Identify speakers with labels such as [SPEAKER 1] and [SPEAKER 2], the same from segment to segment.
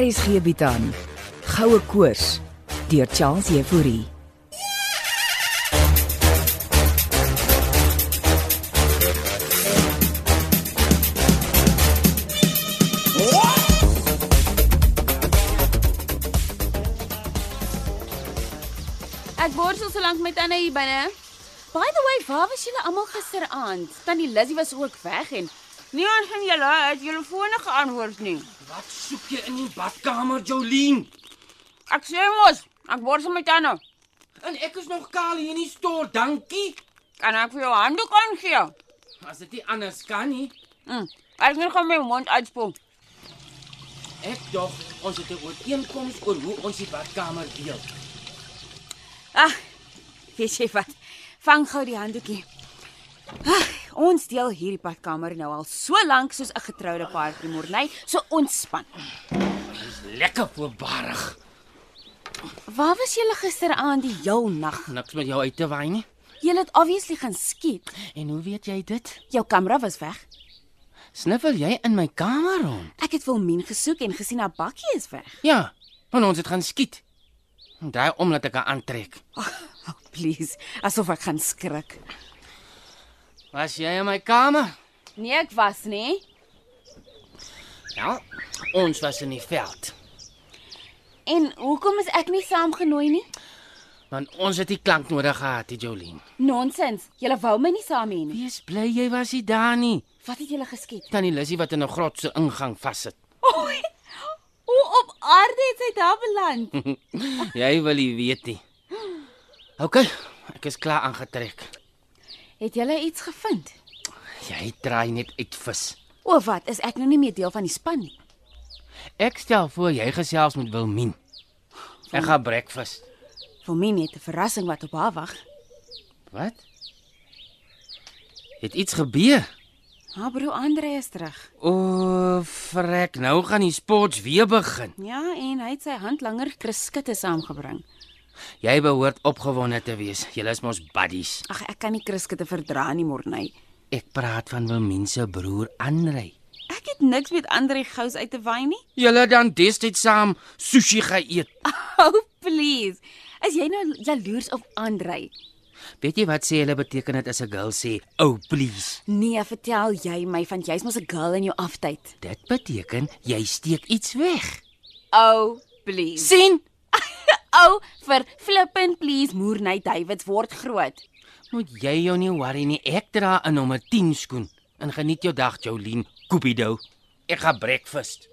[SPEAKER 1] RSG bied aan Goue Koors deur Charles Euphorie.
[SPEAKER 2] Ek borsel so lank met Anna hier binne. By the way, waar was julle almal gisteraand? Tannie Lizzy was ook weg en
[SPEAKER 3] Niemand van julle het julle fone geantwoord nie.
[SPEAKER 4] Wat soek jy in die badkamer, Jolien?
[SPEAKER 3] Ek sê mos, ek borsel my tande.
[SPEAKER 4] En ek is nog kaal hier in die stoel, dankie.
[SPEAKER 3] Kan ek vir jou handdoek aangee?
[SPEAKER 4] As dit nie anders kan nie.
[SPEAKER 3] Hm. Ek moet gaan my mond uitspoel.
[SPEAKER 4] Ek dog ons het 'n ooreenkoms oor hoe ons die badkamer deel.
[SPEAKER 3] Ag, weet jy wat? Vang gou die handdoekie. Ag, ons deel hierdie badkamer nou al so lank soos 'n getroude paar in Morney, so ontspan.
[SPEAKER 4] Dis lekker voorbarig.
[SPEAKER 3] Waar was julle gisteraand die heel nag?
[SPEAKER 4] Niks met jou uit te waai nie.
[SPEAKER 3] Julle het obviously gaan skiet.
[SPEAKER 4] En hoe weet jy dit?
[SPEAKER 3] Jou kamera was weg.
[SPEAKER 4] Sniffel jy in my kamer rond?
[SPEAKER 3] Ek het Wilmien gesoek en gesien haar bakkie is weg.
[SPEAKER 4] Ja, want ons het gaan skiet. En daai omdat ek haar aantrek.
[SPEAKER 3] Oh, please, asof ek gaan skrik.
[SPEAKER 4] Was jy in my kamer?
[SPEAKER 3] Nee, ek was nie.
[SPEAKER 4] Ja, ons was in die veld.
[SPEAKER 3] En hoekom is ek nie saamgenooi nie?
[SPEAKER 4] Want ons het die klank nodig gehad, die Jolien.
[SPEAKER 3] Nonsens. Julle wou my nie saam hê nie.
[SPEAKER 4] Wees bly jy was nie daar nie.
[SPEAKER 3] Wat het julle geskiet?
[SPEAKER 4] Tannie Lissy wat in 'n grot se ingang vassit.
[SPEAKER 3] Oei. Hoe op aarde het sy daar beland?
[SPEAKER 4] Jy wil nie weet nie. OK, ek is klaar aangetrek.
[SPEAKER 3] Het julle iets gevind?
[SPEAKER 4] Jy draai net uit vis.
[SPEAKER 3] O wat, is ek nou nie meer deel van die span nie?
[SPEAKER 4] Ek stel voor jy gesels met Wilmien. Ek gaan breakfast.
[SPEAKER 3] Vir my net 'n verrassing wat op haar wag.
[SPEAKER 4] Wat? Het iets gebeur?
[SPEAKER 3] Haar broer Andre is terug.
[SPEAKER 4] O, frek, nou gaan die sports weer begin.
[SPEAKER 3] Ja, en hy het sy handlanger Chris Skutte saamgebring.
[SPEAKER 4] Jy behoort opgewonde te wees. Julle is mos buddies.
[SPEAKER 3] Ag, ek kan nie Chris Skutte verdra nie, Morney.
[SPEAKER 4] Ek praat van Wilmien se broer Andrei.
[SPEAKER 3] Ek het niks met Andre Gous uit te wy nie.
[SPEAKER 4] Julle het dan destyds saam sushi geëet.
[SPEAKER 3] Oh, please. Is jy nou jaloers op Andre?
[SPEAKER 4] Weet jy wat sê hulle beteken dit as 'n girl sê, "Oh please."
[SPEAKER 3] Nee, vertel jy my van jy's mos 'n girl in jou aftyd.
[SPEAKER 4] Dit beteken jy steek iets weg.
[SPEAKER 3] Ou, oh, please.
[SPEAKER 4] sien?
[SPEAKER 3] Ou oh, vir flippin please Moerney Davids word groot.
[SPEAKER 4] Moet jy jou nie worry nie. Ek dra 'n nommer 10 skoen. En geniet jou dag, Jolien Cupido. Ek gaan breakfast.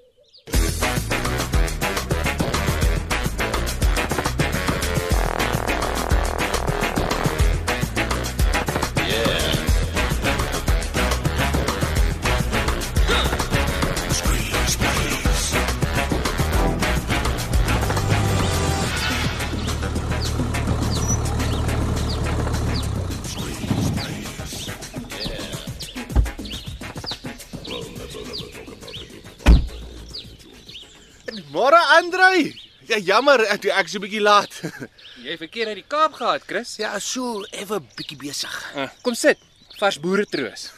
[SPEAKER 5] Môre Andrei. Ja jammer, ek ek is 'n bietjie laat.
[SPEAKER 6] Jy verkeer uit die Kaap gehad, Chris.
[SPEAKER 5] Ja, so ewe bietjie besig.
[SPEAKER 6] Uh, kom sit. Vars boere troos.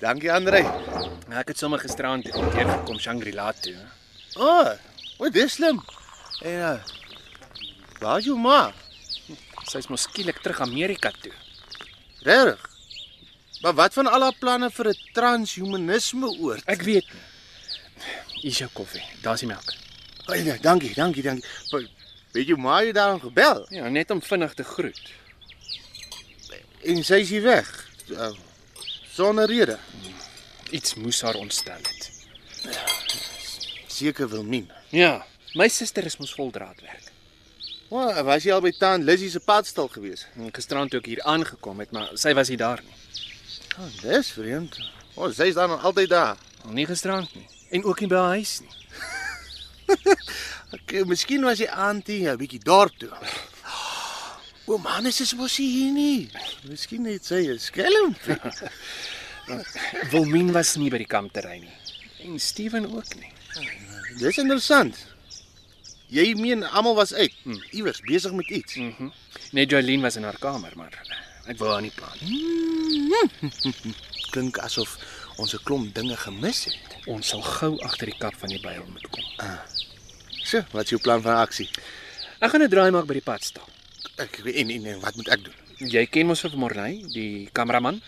[SPEAKER 5] Dankie Andrei.
[SPEAKER 6] Nou, Ek het sommer gisterand weer gekom Shangri-La toe.
[SPEAKER 5] O, oh, wat dis slim. En uh, waar is jou ma?
[SPEAKER 6] Sy's mos skielik terug Amerika toe.
[SPEAKER 5] Reg. Maar wat van al haar planne vir 'n transhumanisme oor?
[SPEAKER 6] Ek weet nie. Hier is jou koffie. Daar's die melk.
[SPEAKER 5] Ai,
[SPEAKER 6] eh, ja,
[SPEAKER 5] nee, dankie, dankie, dankie. Maar, Weet jou ma het daarom gebel
[SPEAKER 6] Ja, net om vinnig te groet.
[SPEAKER 5] en sy is hier weg. Uh, sonder rede.
[SPEAKER 6] Iets moes haar ontstel het.
[SPEAKER 5] Seker wil nie.
[SPEAKER 6] Ja, my suster is mos vol draadwerk.
[SPEAKER 5] Maar was jy al by Taan Lizzie se padstal gewees?
[SPEAKER 6] En Gisterand toe ek hier aangekom het, maar sy was nie daar nie.
[SPEAKER 5] Oh, dis vreemd. O, oh, sy's dan altyd daar.
[SPEAKER 6] Al nie gisterand nie en ook nie by haar huis nie.
[SPEAKER 5] Ek eh, miskien was die auntie 'n bietjie dorp toe. Oom Hannes is mos nie hier nie. Miskien net sy 'n skelm.
[SPEAKER 6] Wilmien was nie by die kampterrein nie en Steven ook nie.
[SPEAKER 5] Dis interessant. Jy meen almal was uit, iewers besig met iets.
[SPEAKER 6] Net Jolene was in haar kamer, maar ek wou haar nie pla nie.
[SPEAKER 5] Klink asof ons 'n klomp dinge gemis het.
[SPEAKER 6] Ons sal gou agter die kap van die byl moet kom.
[SPEAKER 5] So, wat is jou plan van aksie?
[SPEAKER 6] Ek gaan 'n draai maak by die padstal.
[SPEAKER 5] Ek en en, en wat moet ek doen?
[SPEAKER 6] Jy ken mos vir Morney, die kameraman.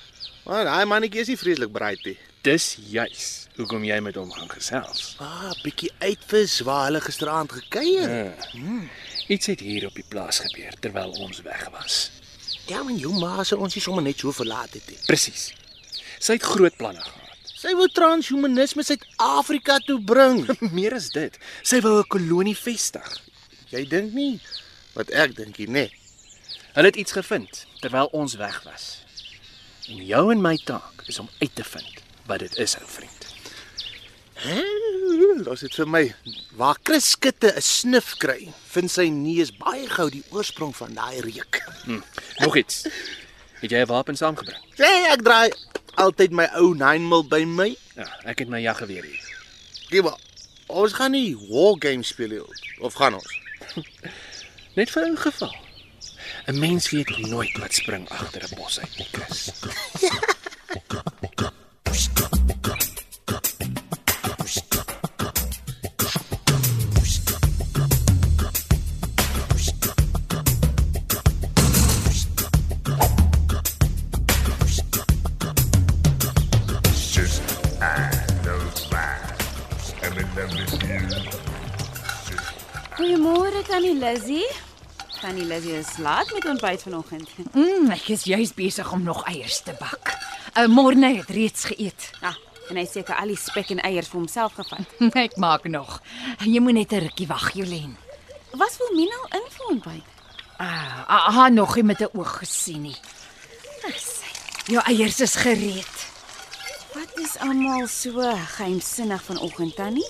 [SPEAKER 5] Maar daai mannetjie is nie vreeslik braaitjie.
[SPEAKER 6] Dis juis hoekom jy met hom gaan gesels.
[SPEAKER 5] Ah, bietjie uitvis waar hulle gisteraand gekuier het.
[SPEAKER 6] Hmm. Iets het hier op die plaas gebeur terwyl ons weg was.
[SPEAKER 5] Ja, men jou ma se ons nie sommer net so verlaat het nie.
[SPEAKER 6] Presies. Sy het groot planne gehad.
[SPEAKER 5] Sy wou transhumanisme Suid-Afrika toe bring.
[SPEAKER 6] Meer as dit, sy wou 'n kolonie vestig.
[SPEAKER 5] Jy dink nie wat ek dink nie, né?
[SPEAKER 6] Hulle het iets gevind terwyl ons weg was. En jou en my taak is om uit te vind wat dit is, ou vriend.
[SPEAKER 5] Hè? Los dit vir my. Waar Chris Skutte 'n snif kry, vind sy neus baie gou die oorsprong van daai reuk.
[SPEAKER 6] Nog iets. Het jy 'n wapen saamgebring?
[SPEAKER 5] Sê ek draai altyd my ou 9 mil by my.
[SPEAKER 6] Ja, ek het my jaggeweer hier.
[SPEAKER 5] Giba. Ons gaan nie war game speel nie, of gaan ons?
[SPEAKER 6] Net vir 'n geval. 'n Mens weet nooit wat spring agter 'n bos uit nie, Chris.
[SPEAKER 7] Just I knows mine. I'm in love with you.
[SPEAKER 2] Goeiemôre tannie Lizzy.
[SPEAKER 3] Tannie Lizzie is laat met ontbyt vanoggend.
[SPEAKER 1] Mm, ek is juis besig om nog eiers te bak. Ou Morne het reeds geëet.
[SPEAKER 3] Ah, en hy het seker al die spek en eiers vir homself gevat.
[SPEAKER 1] Ek maak nog. Jy moet net 'n rukkie wag, Jolien.
[SPEAKER 3] Was Wilmina al in vir ontbyt?
[SPEAKER 1] Ah, aha, nog nie met 'n oog gesien nie. Ah, Jou eiers is gereed.
[SPEAKER 3] Wat is almal so geheimsinnig vanoggend, Tannie?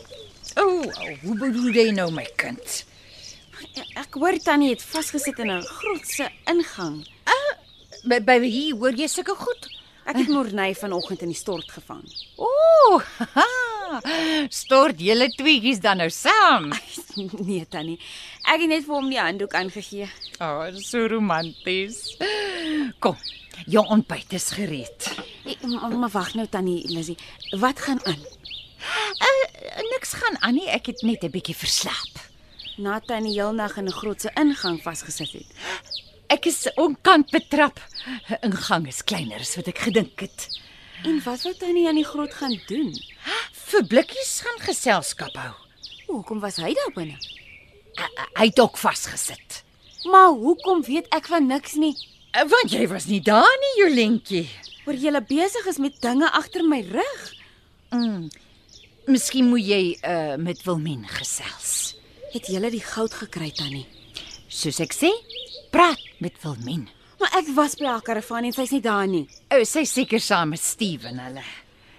[SPEAKER 1] O, oh, hoe bedoel jy nou my kind?
[SPEAKER 3] Ja, Ek hoor Tannie het vasgesit in 'n grotse ingang.
[SPEAKER 1] By by hier hoor jy sulke goed.
[SPEAKER 3] Ek het Morney vanoggend in die stort gevang.
[SPEAKER 1] Ooh, stort julle tweetjies dan nou saam.
[SPEAKER 3] nee, Tannie. Ek het net vir hom die handdoek aangegee.
[SPEAKER 1] Oh, so romanties. Kom, jou ontbyt is gereed.
[SPEAKER 3] Hey, maar maar wag nou Tannie Lizzie. Wat gaan aan?
[SPEAKER 1] Eh, Niks gaan aan nie, ek het net 'n bietjie verslaap.
[SPEAKER 3] Na Tannie heelnag in 'n grotse ingang vasgesit het.
[SPEAKER 1] Ek is onkant betrap. 'n Ingang is kleiner as wat ek gedink het.
[SPEAKER 3] En wat wou Tannie aan die grot gaan doen?
[SPEAKER 1] Vir blikkies gaan geselskap hou.
[SPEAKER 3] Hoekom was hy daar binne?
[SPEAKER 1] Hy- Hy het ook vasgesit.
[SPEAKER 3] Maar hoekom weet ek van niks nie?
[SPEAKER 1] Eh, Want jy was nie daar nie, Jolentjie.
[SPEAKER 3] Oor jy besig is met dinge agter my rug.
[SPEAKER 1] Miskien moet jy uh, met Wilmien gesels.
[SPEAKER 3] Het jy die goud gekry Tannie?
[SPEAKER 1] Soos ek sê, praat met Wilmien.
[SPEAKER 3] Maar ek was by haar karavaan en sy's nie daar nie.
[SPEAKER 1] O, Eh, sy is seker saam met Steven hulle.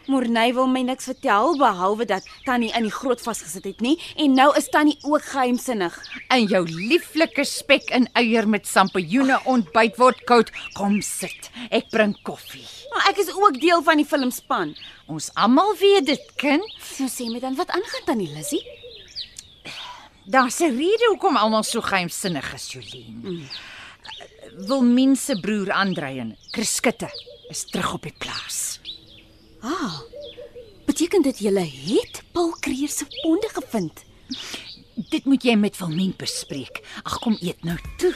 [SPEAKER 3] Morney wil my niks vertel behalwe dat Tannie in die grot vasgesit het nie en nou is Tannie ook geheimsinnig.
[SPEAKER 1] En jou lieflike spek en eier met sampioene ontbyt word koud. Kom sit. Ek bring koffie.
[SPEAKER 3] Maar ek is ook deel van die filmspan.
[SPEAKER 1] Ons almal weet dit, kind.
[SPEAKER 3] Nou sê my dan wat aangaan Tannie Lissy?
[SPEAKER 1] Daar's 'n rede hoekom almal so geheimsinnig is, Jolien. Mm. Wilmien se broer Andreien, Kriskitte, is terug op die plaas.
[SPEAKER 3] Ah. Beteken dit jy het Paul Kreer se ponde gevind?
[SPEAKER 1] Dit moet jy met Wilmien bespreek. Ag kom eet nou toe.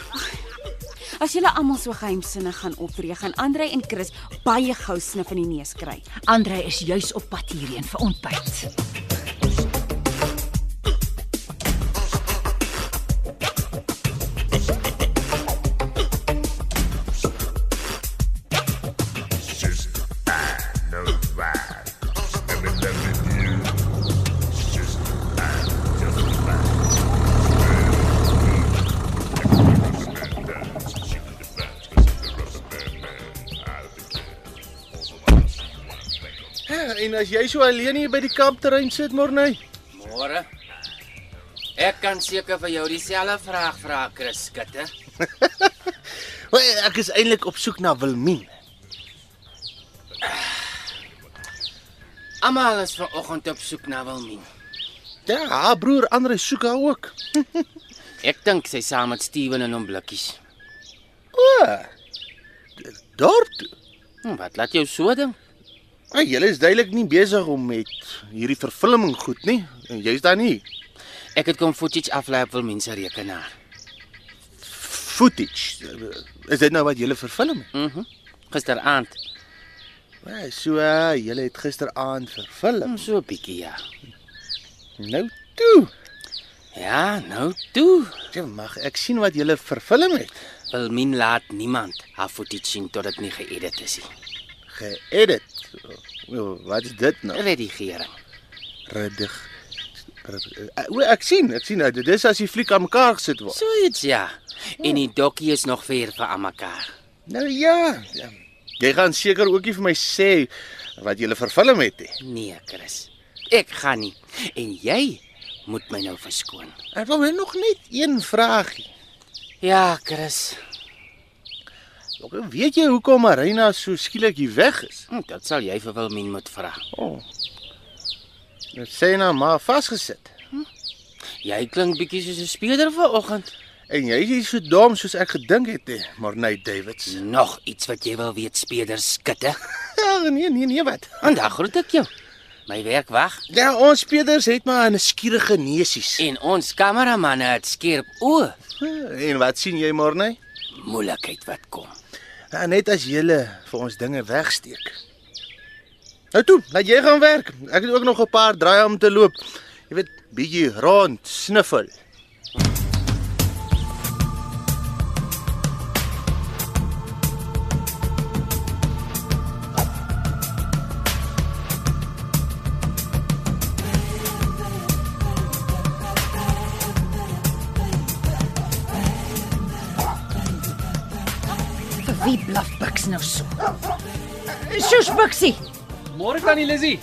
[SPEAKER 3] As julle almal so geheimsinnig gaan optree, gaan Andre en Chris baie gou snif in die neus kry.
[SPEAKER 1] Andre is juis op pad hierheen vir ontbyt.
[SPEAKER 7] Just I knows mine. I'm in love with you. Just I knows mine.
[SPEAKER 5] Ja, en as jy so alleen hier by die kampterrein sit, Morney,
[SPEAKER 4] Môre. Ek kan seker vir jou dieselfde vraag vra, Chris Skutte.
[SPEAKER 5] Wel, ek is eintlik op soek na Wilmien.
[SPEAKER 4] Almal is vanoggend op soek na Wilmien.
[SPEAKER 5] Ja, haar broer Andre soek haar ook.
[SPEAKER 4] Ek dink sy saam met Steven en hom blikkies.
[SPEAKER 5] O. Dorp.
[SPEAKER 4] Hm, wat laat jou so dink?
[SPEAKER 5] Hey, julle is duidelik nie besig om met hierdie vervilming goed nie. En Jy's daar nie.
[SPEAKER 4] Ek het kom footage aflaai op wil mense rekenaar.
[SPEAKER 5] Footage. Is dit nou wat julle vervilm?
[SPEAKER 4] Mhm. Gisteraand,
[SPEAKER 5] Ja, so uh, julle het gisteraand vervilm.
[SPEAKER 4] mm, so 'n bietjie ja.
[SPEAKER 5] Nou toe.
[SPEAKER 4] Ja, nou toe.
[SPEAKER 5] Ja, mag ek sien wat julle vervilm het?
[SPEAKER 4] Wilmin laat niemand haar footage sien tot dit nie geëdit is nie.
[SPEAKER 5] Geedit. O, Wat is dit nou?
[SPEAKER 4] Redigering.
[SPEAKER 5] Redig. Eh, O, ek sien, ek sien nou, dit is as die fliek aan mekaar gesit word.
[SPEAKER 4] So iets ja. En die dokkie is nog vir vir aan mekaar.
[SPEAKER 5] Nou ja, ja. jy gaan seker ookie vir my sê wat jy vervilm het. hè?
[SPEAKER 4] Nee, Chris. Ek gaan nie. En jy moet my nou verskoon.
[SPEAKER 5] Ek wil net nog net een vraagie.
[SPEAKER 4] Ja, Chris.
[SPEAKER 5] Ook weet jy hoekom Marina so skielik hier weg is?
[SPEAKER 4] Hm, Dit sal jy vir Wilmin moet vra.
[SPEAKER 5] Dit sê na maar vasgesit.
[SPEAKER 4] Jy klink bietjie soos 'n speeder vanoggend.
[SPEAKER 5] En jy is nie so dom soos ek gedink het, hè, Marnay Davids.
[SPEAKER 4] Nog iets wat jy wil weet, speeder skitte.
[SPEAKER 5] Ja, nee, nee, nee, wat?
[SPEAKER 4] Vandag groet ek jou. My werk wag
[SPEAKER 5] Ja, ons spelers het maar 'n skierige neusies.
[SPEAKER 4] en ons kameramanne het skerp oë.
[SPEAKER 5] Hm, En wat sien jy, Marnay?
[SPEAKER 4] Moeilikheid wat kom.
[SPEAKER 5] Ja, net as jy vir ons dinge wegsteek. Nou toe, laat jy gaan werk. Ek het ook nog 'n paar draai om te loop. Jy weet, bietjie rond sniffel.
[SPEAKER 1] Vir wie blaf Bucks nou so? Sjoes Buxie.
[SPEAKER 6] Môre tannie Lizzy.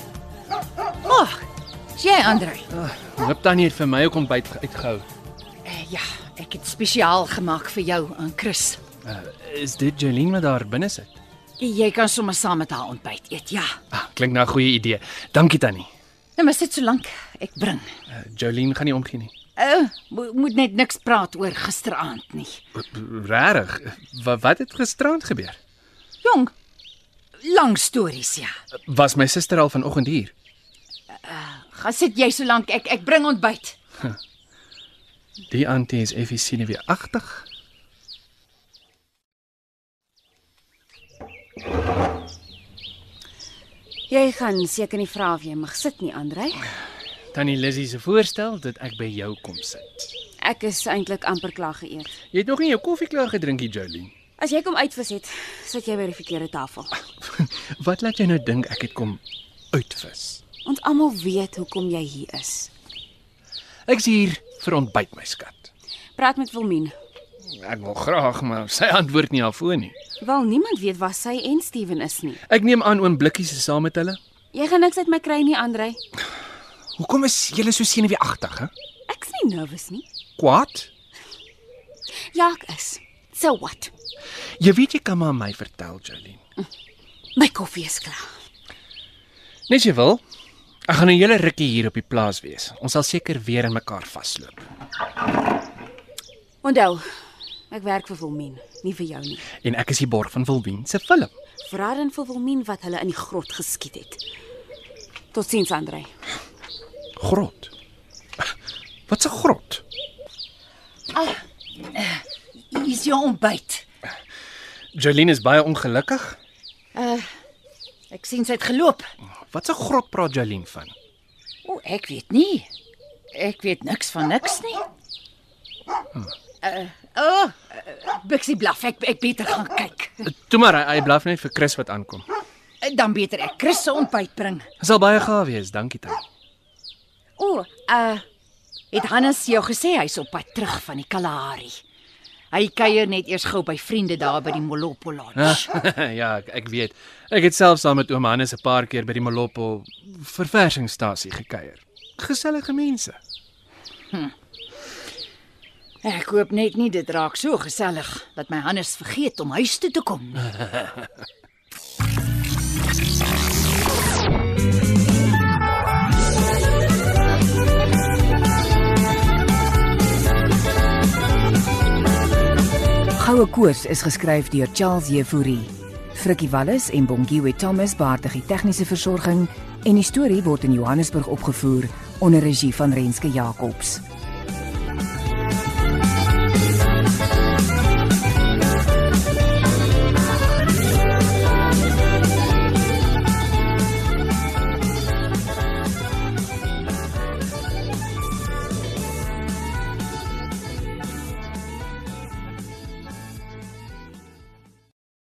[SPEAKER 1] Ag, is jy Andrej.
[SPEAKER 6] Hoop tannie het vir my ook ontbyt ge- uitgehou.
[SPEAKER 1] Eh, Ja, ek het spesiaal gemaak vir jou en Chris.
[SPEAKER 6] Eh, Is dit Jolene wat daar binne sit?
[SPEAKER 1] Jy kan sommer saam met haar ontbyt eet, ja.
[SPEAKER 6] Ah, klink na 'n goeie idee. Dankie tannie.
[SPEAKER 1] Nou maar sit so lank ek bring.
[SPEAKER 6] Uh, Jolene gaan nie omgee nie.
[SPEAKER 1] Ou, mo moet net niks praat oor gisteraand nie.
[SPEAKER 6] Regtig? Wat wat het gisterand gebeur?
[SPEAKER 1] Jong, lang stories ja.
[SPEAKER 6] Was my suster al vanoggend hier?
[SPEAKER 1] Gaan sit jy so lank ek ek bring ontbyt.
[SPEAKER 6] Die auntie is effie senuweeagtig.
[SPEAKER 3] Jy gaan seker nie vra of jy mag sit nie, Andrej.
[SPEAKER 6] Tannie Lizzy se voorstel dat ek by jou kom sit.
[SPEAKER 3] Ek is eintlik amper klaar geëet.
[SPEAKER 6] Jy het nog nie jou koffie klaar gedrink nie, Jolene.
[SPEAKER 3] As jy kom uitvis het, sit jy by die verkeerde tafel.
[SPEAKER 6] Wat laat jy nou dink ek het kom uitvis?
[SPEAKER 3] Ons almal weet hoekom jy hier is.
[SPEAKER 6] Ek's hier vir ontbyt, my skat.
[SPEAKER 3] Praat met Wilmien.
[SPEAKER 6] Ek wil graag, maar sy antwoord nie haar foon nie.
[SPEAKER 3] Wel niemand weet waar sy en Steven is nie.
[SPEAKER 6] Ek neem aan oom Blikkies is saam met hulle.
[SPEAKER 3] Jy gaan niks uit my kry nie, Andrej.
[SPEAKER 6] Hoekom is julle so senuweeagtig, hè?
[SPEAKER 3] Ek's nie nervus nie.
[SPEAKER 6] Kwaad?
[SPEAKER 3] Ja, ek is. So what?
[SPEAKER 6] Jy weet jy kan maar my vertel, Jolene.
[SPEAKER 3] My koffie is klaar.
[SPEAKER 6] Net jy wil. Ek gaan 'n hele rukkie hier op die plaas wees. Ons sal seker weer in mekaar vasloop.
[SPEAKER 3] Onthou, ek werk vir Wilmien, nie vir jou nie.
[SPEAKER 6] En ek is die borg van Wilwien se film.
[SPEAKER 3] Vra dan vir Wilmien wat hulle in die grot geskiet het. Totsiens, Andrej.
[SPEAKER 6] Grot. Wat 'n grot?
[SPEAKER 1] Hier is jou ontbyt.
[SPEAKER 6] Jolene is baie ongelukkig.
[SPEAKER 1] Ek sien sy het geloop.
[SPEAKER 6] Wat 'n grot praat Jolene van?
[SPEAKER 1] O, ek weet nie. Ek weet niks van niks nie. Uh, o, oh, uh, Buxie blaf. Ek ek beter gaan kyk.
[SPEAKER 6] Toe maar, hy, hy blaf net vir Chris wat aankom.
[SPEAKER 1] Eh, Dan beter ek Chris se ontbyt bring.
[SPEAKER 6] Dit sal baie gaaf wees, dankie tannie.
[SPEAKER 1] O, uh het Hannes jou gesê hy's op pad terug van die Kalahari. Hy kuier net eers gou by vriende daar by die Molopo Lodge.
[SPEAKER 6] ja, ek, ek weet. Ek het self saam met oom Hannes 'n paar keer by die Molopo verversingsstasie gekuier. Gesellige mense.
[SPEAKER 1] Ek hoop net nie dit raak so gesellig dat my Hannes vergeet om huis toe te kom nie.
[SPEAKER 8] Goue koers is geskryf deur Charles Jefouri.
[SPEAKER 1] Frikkie Wallis en Bongiwe Thomas behartig die tegniese versorging en die storie word in Johannesburg opgevoer onder regie van Renske Jacobs.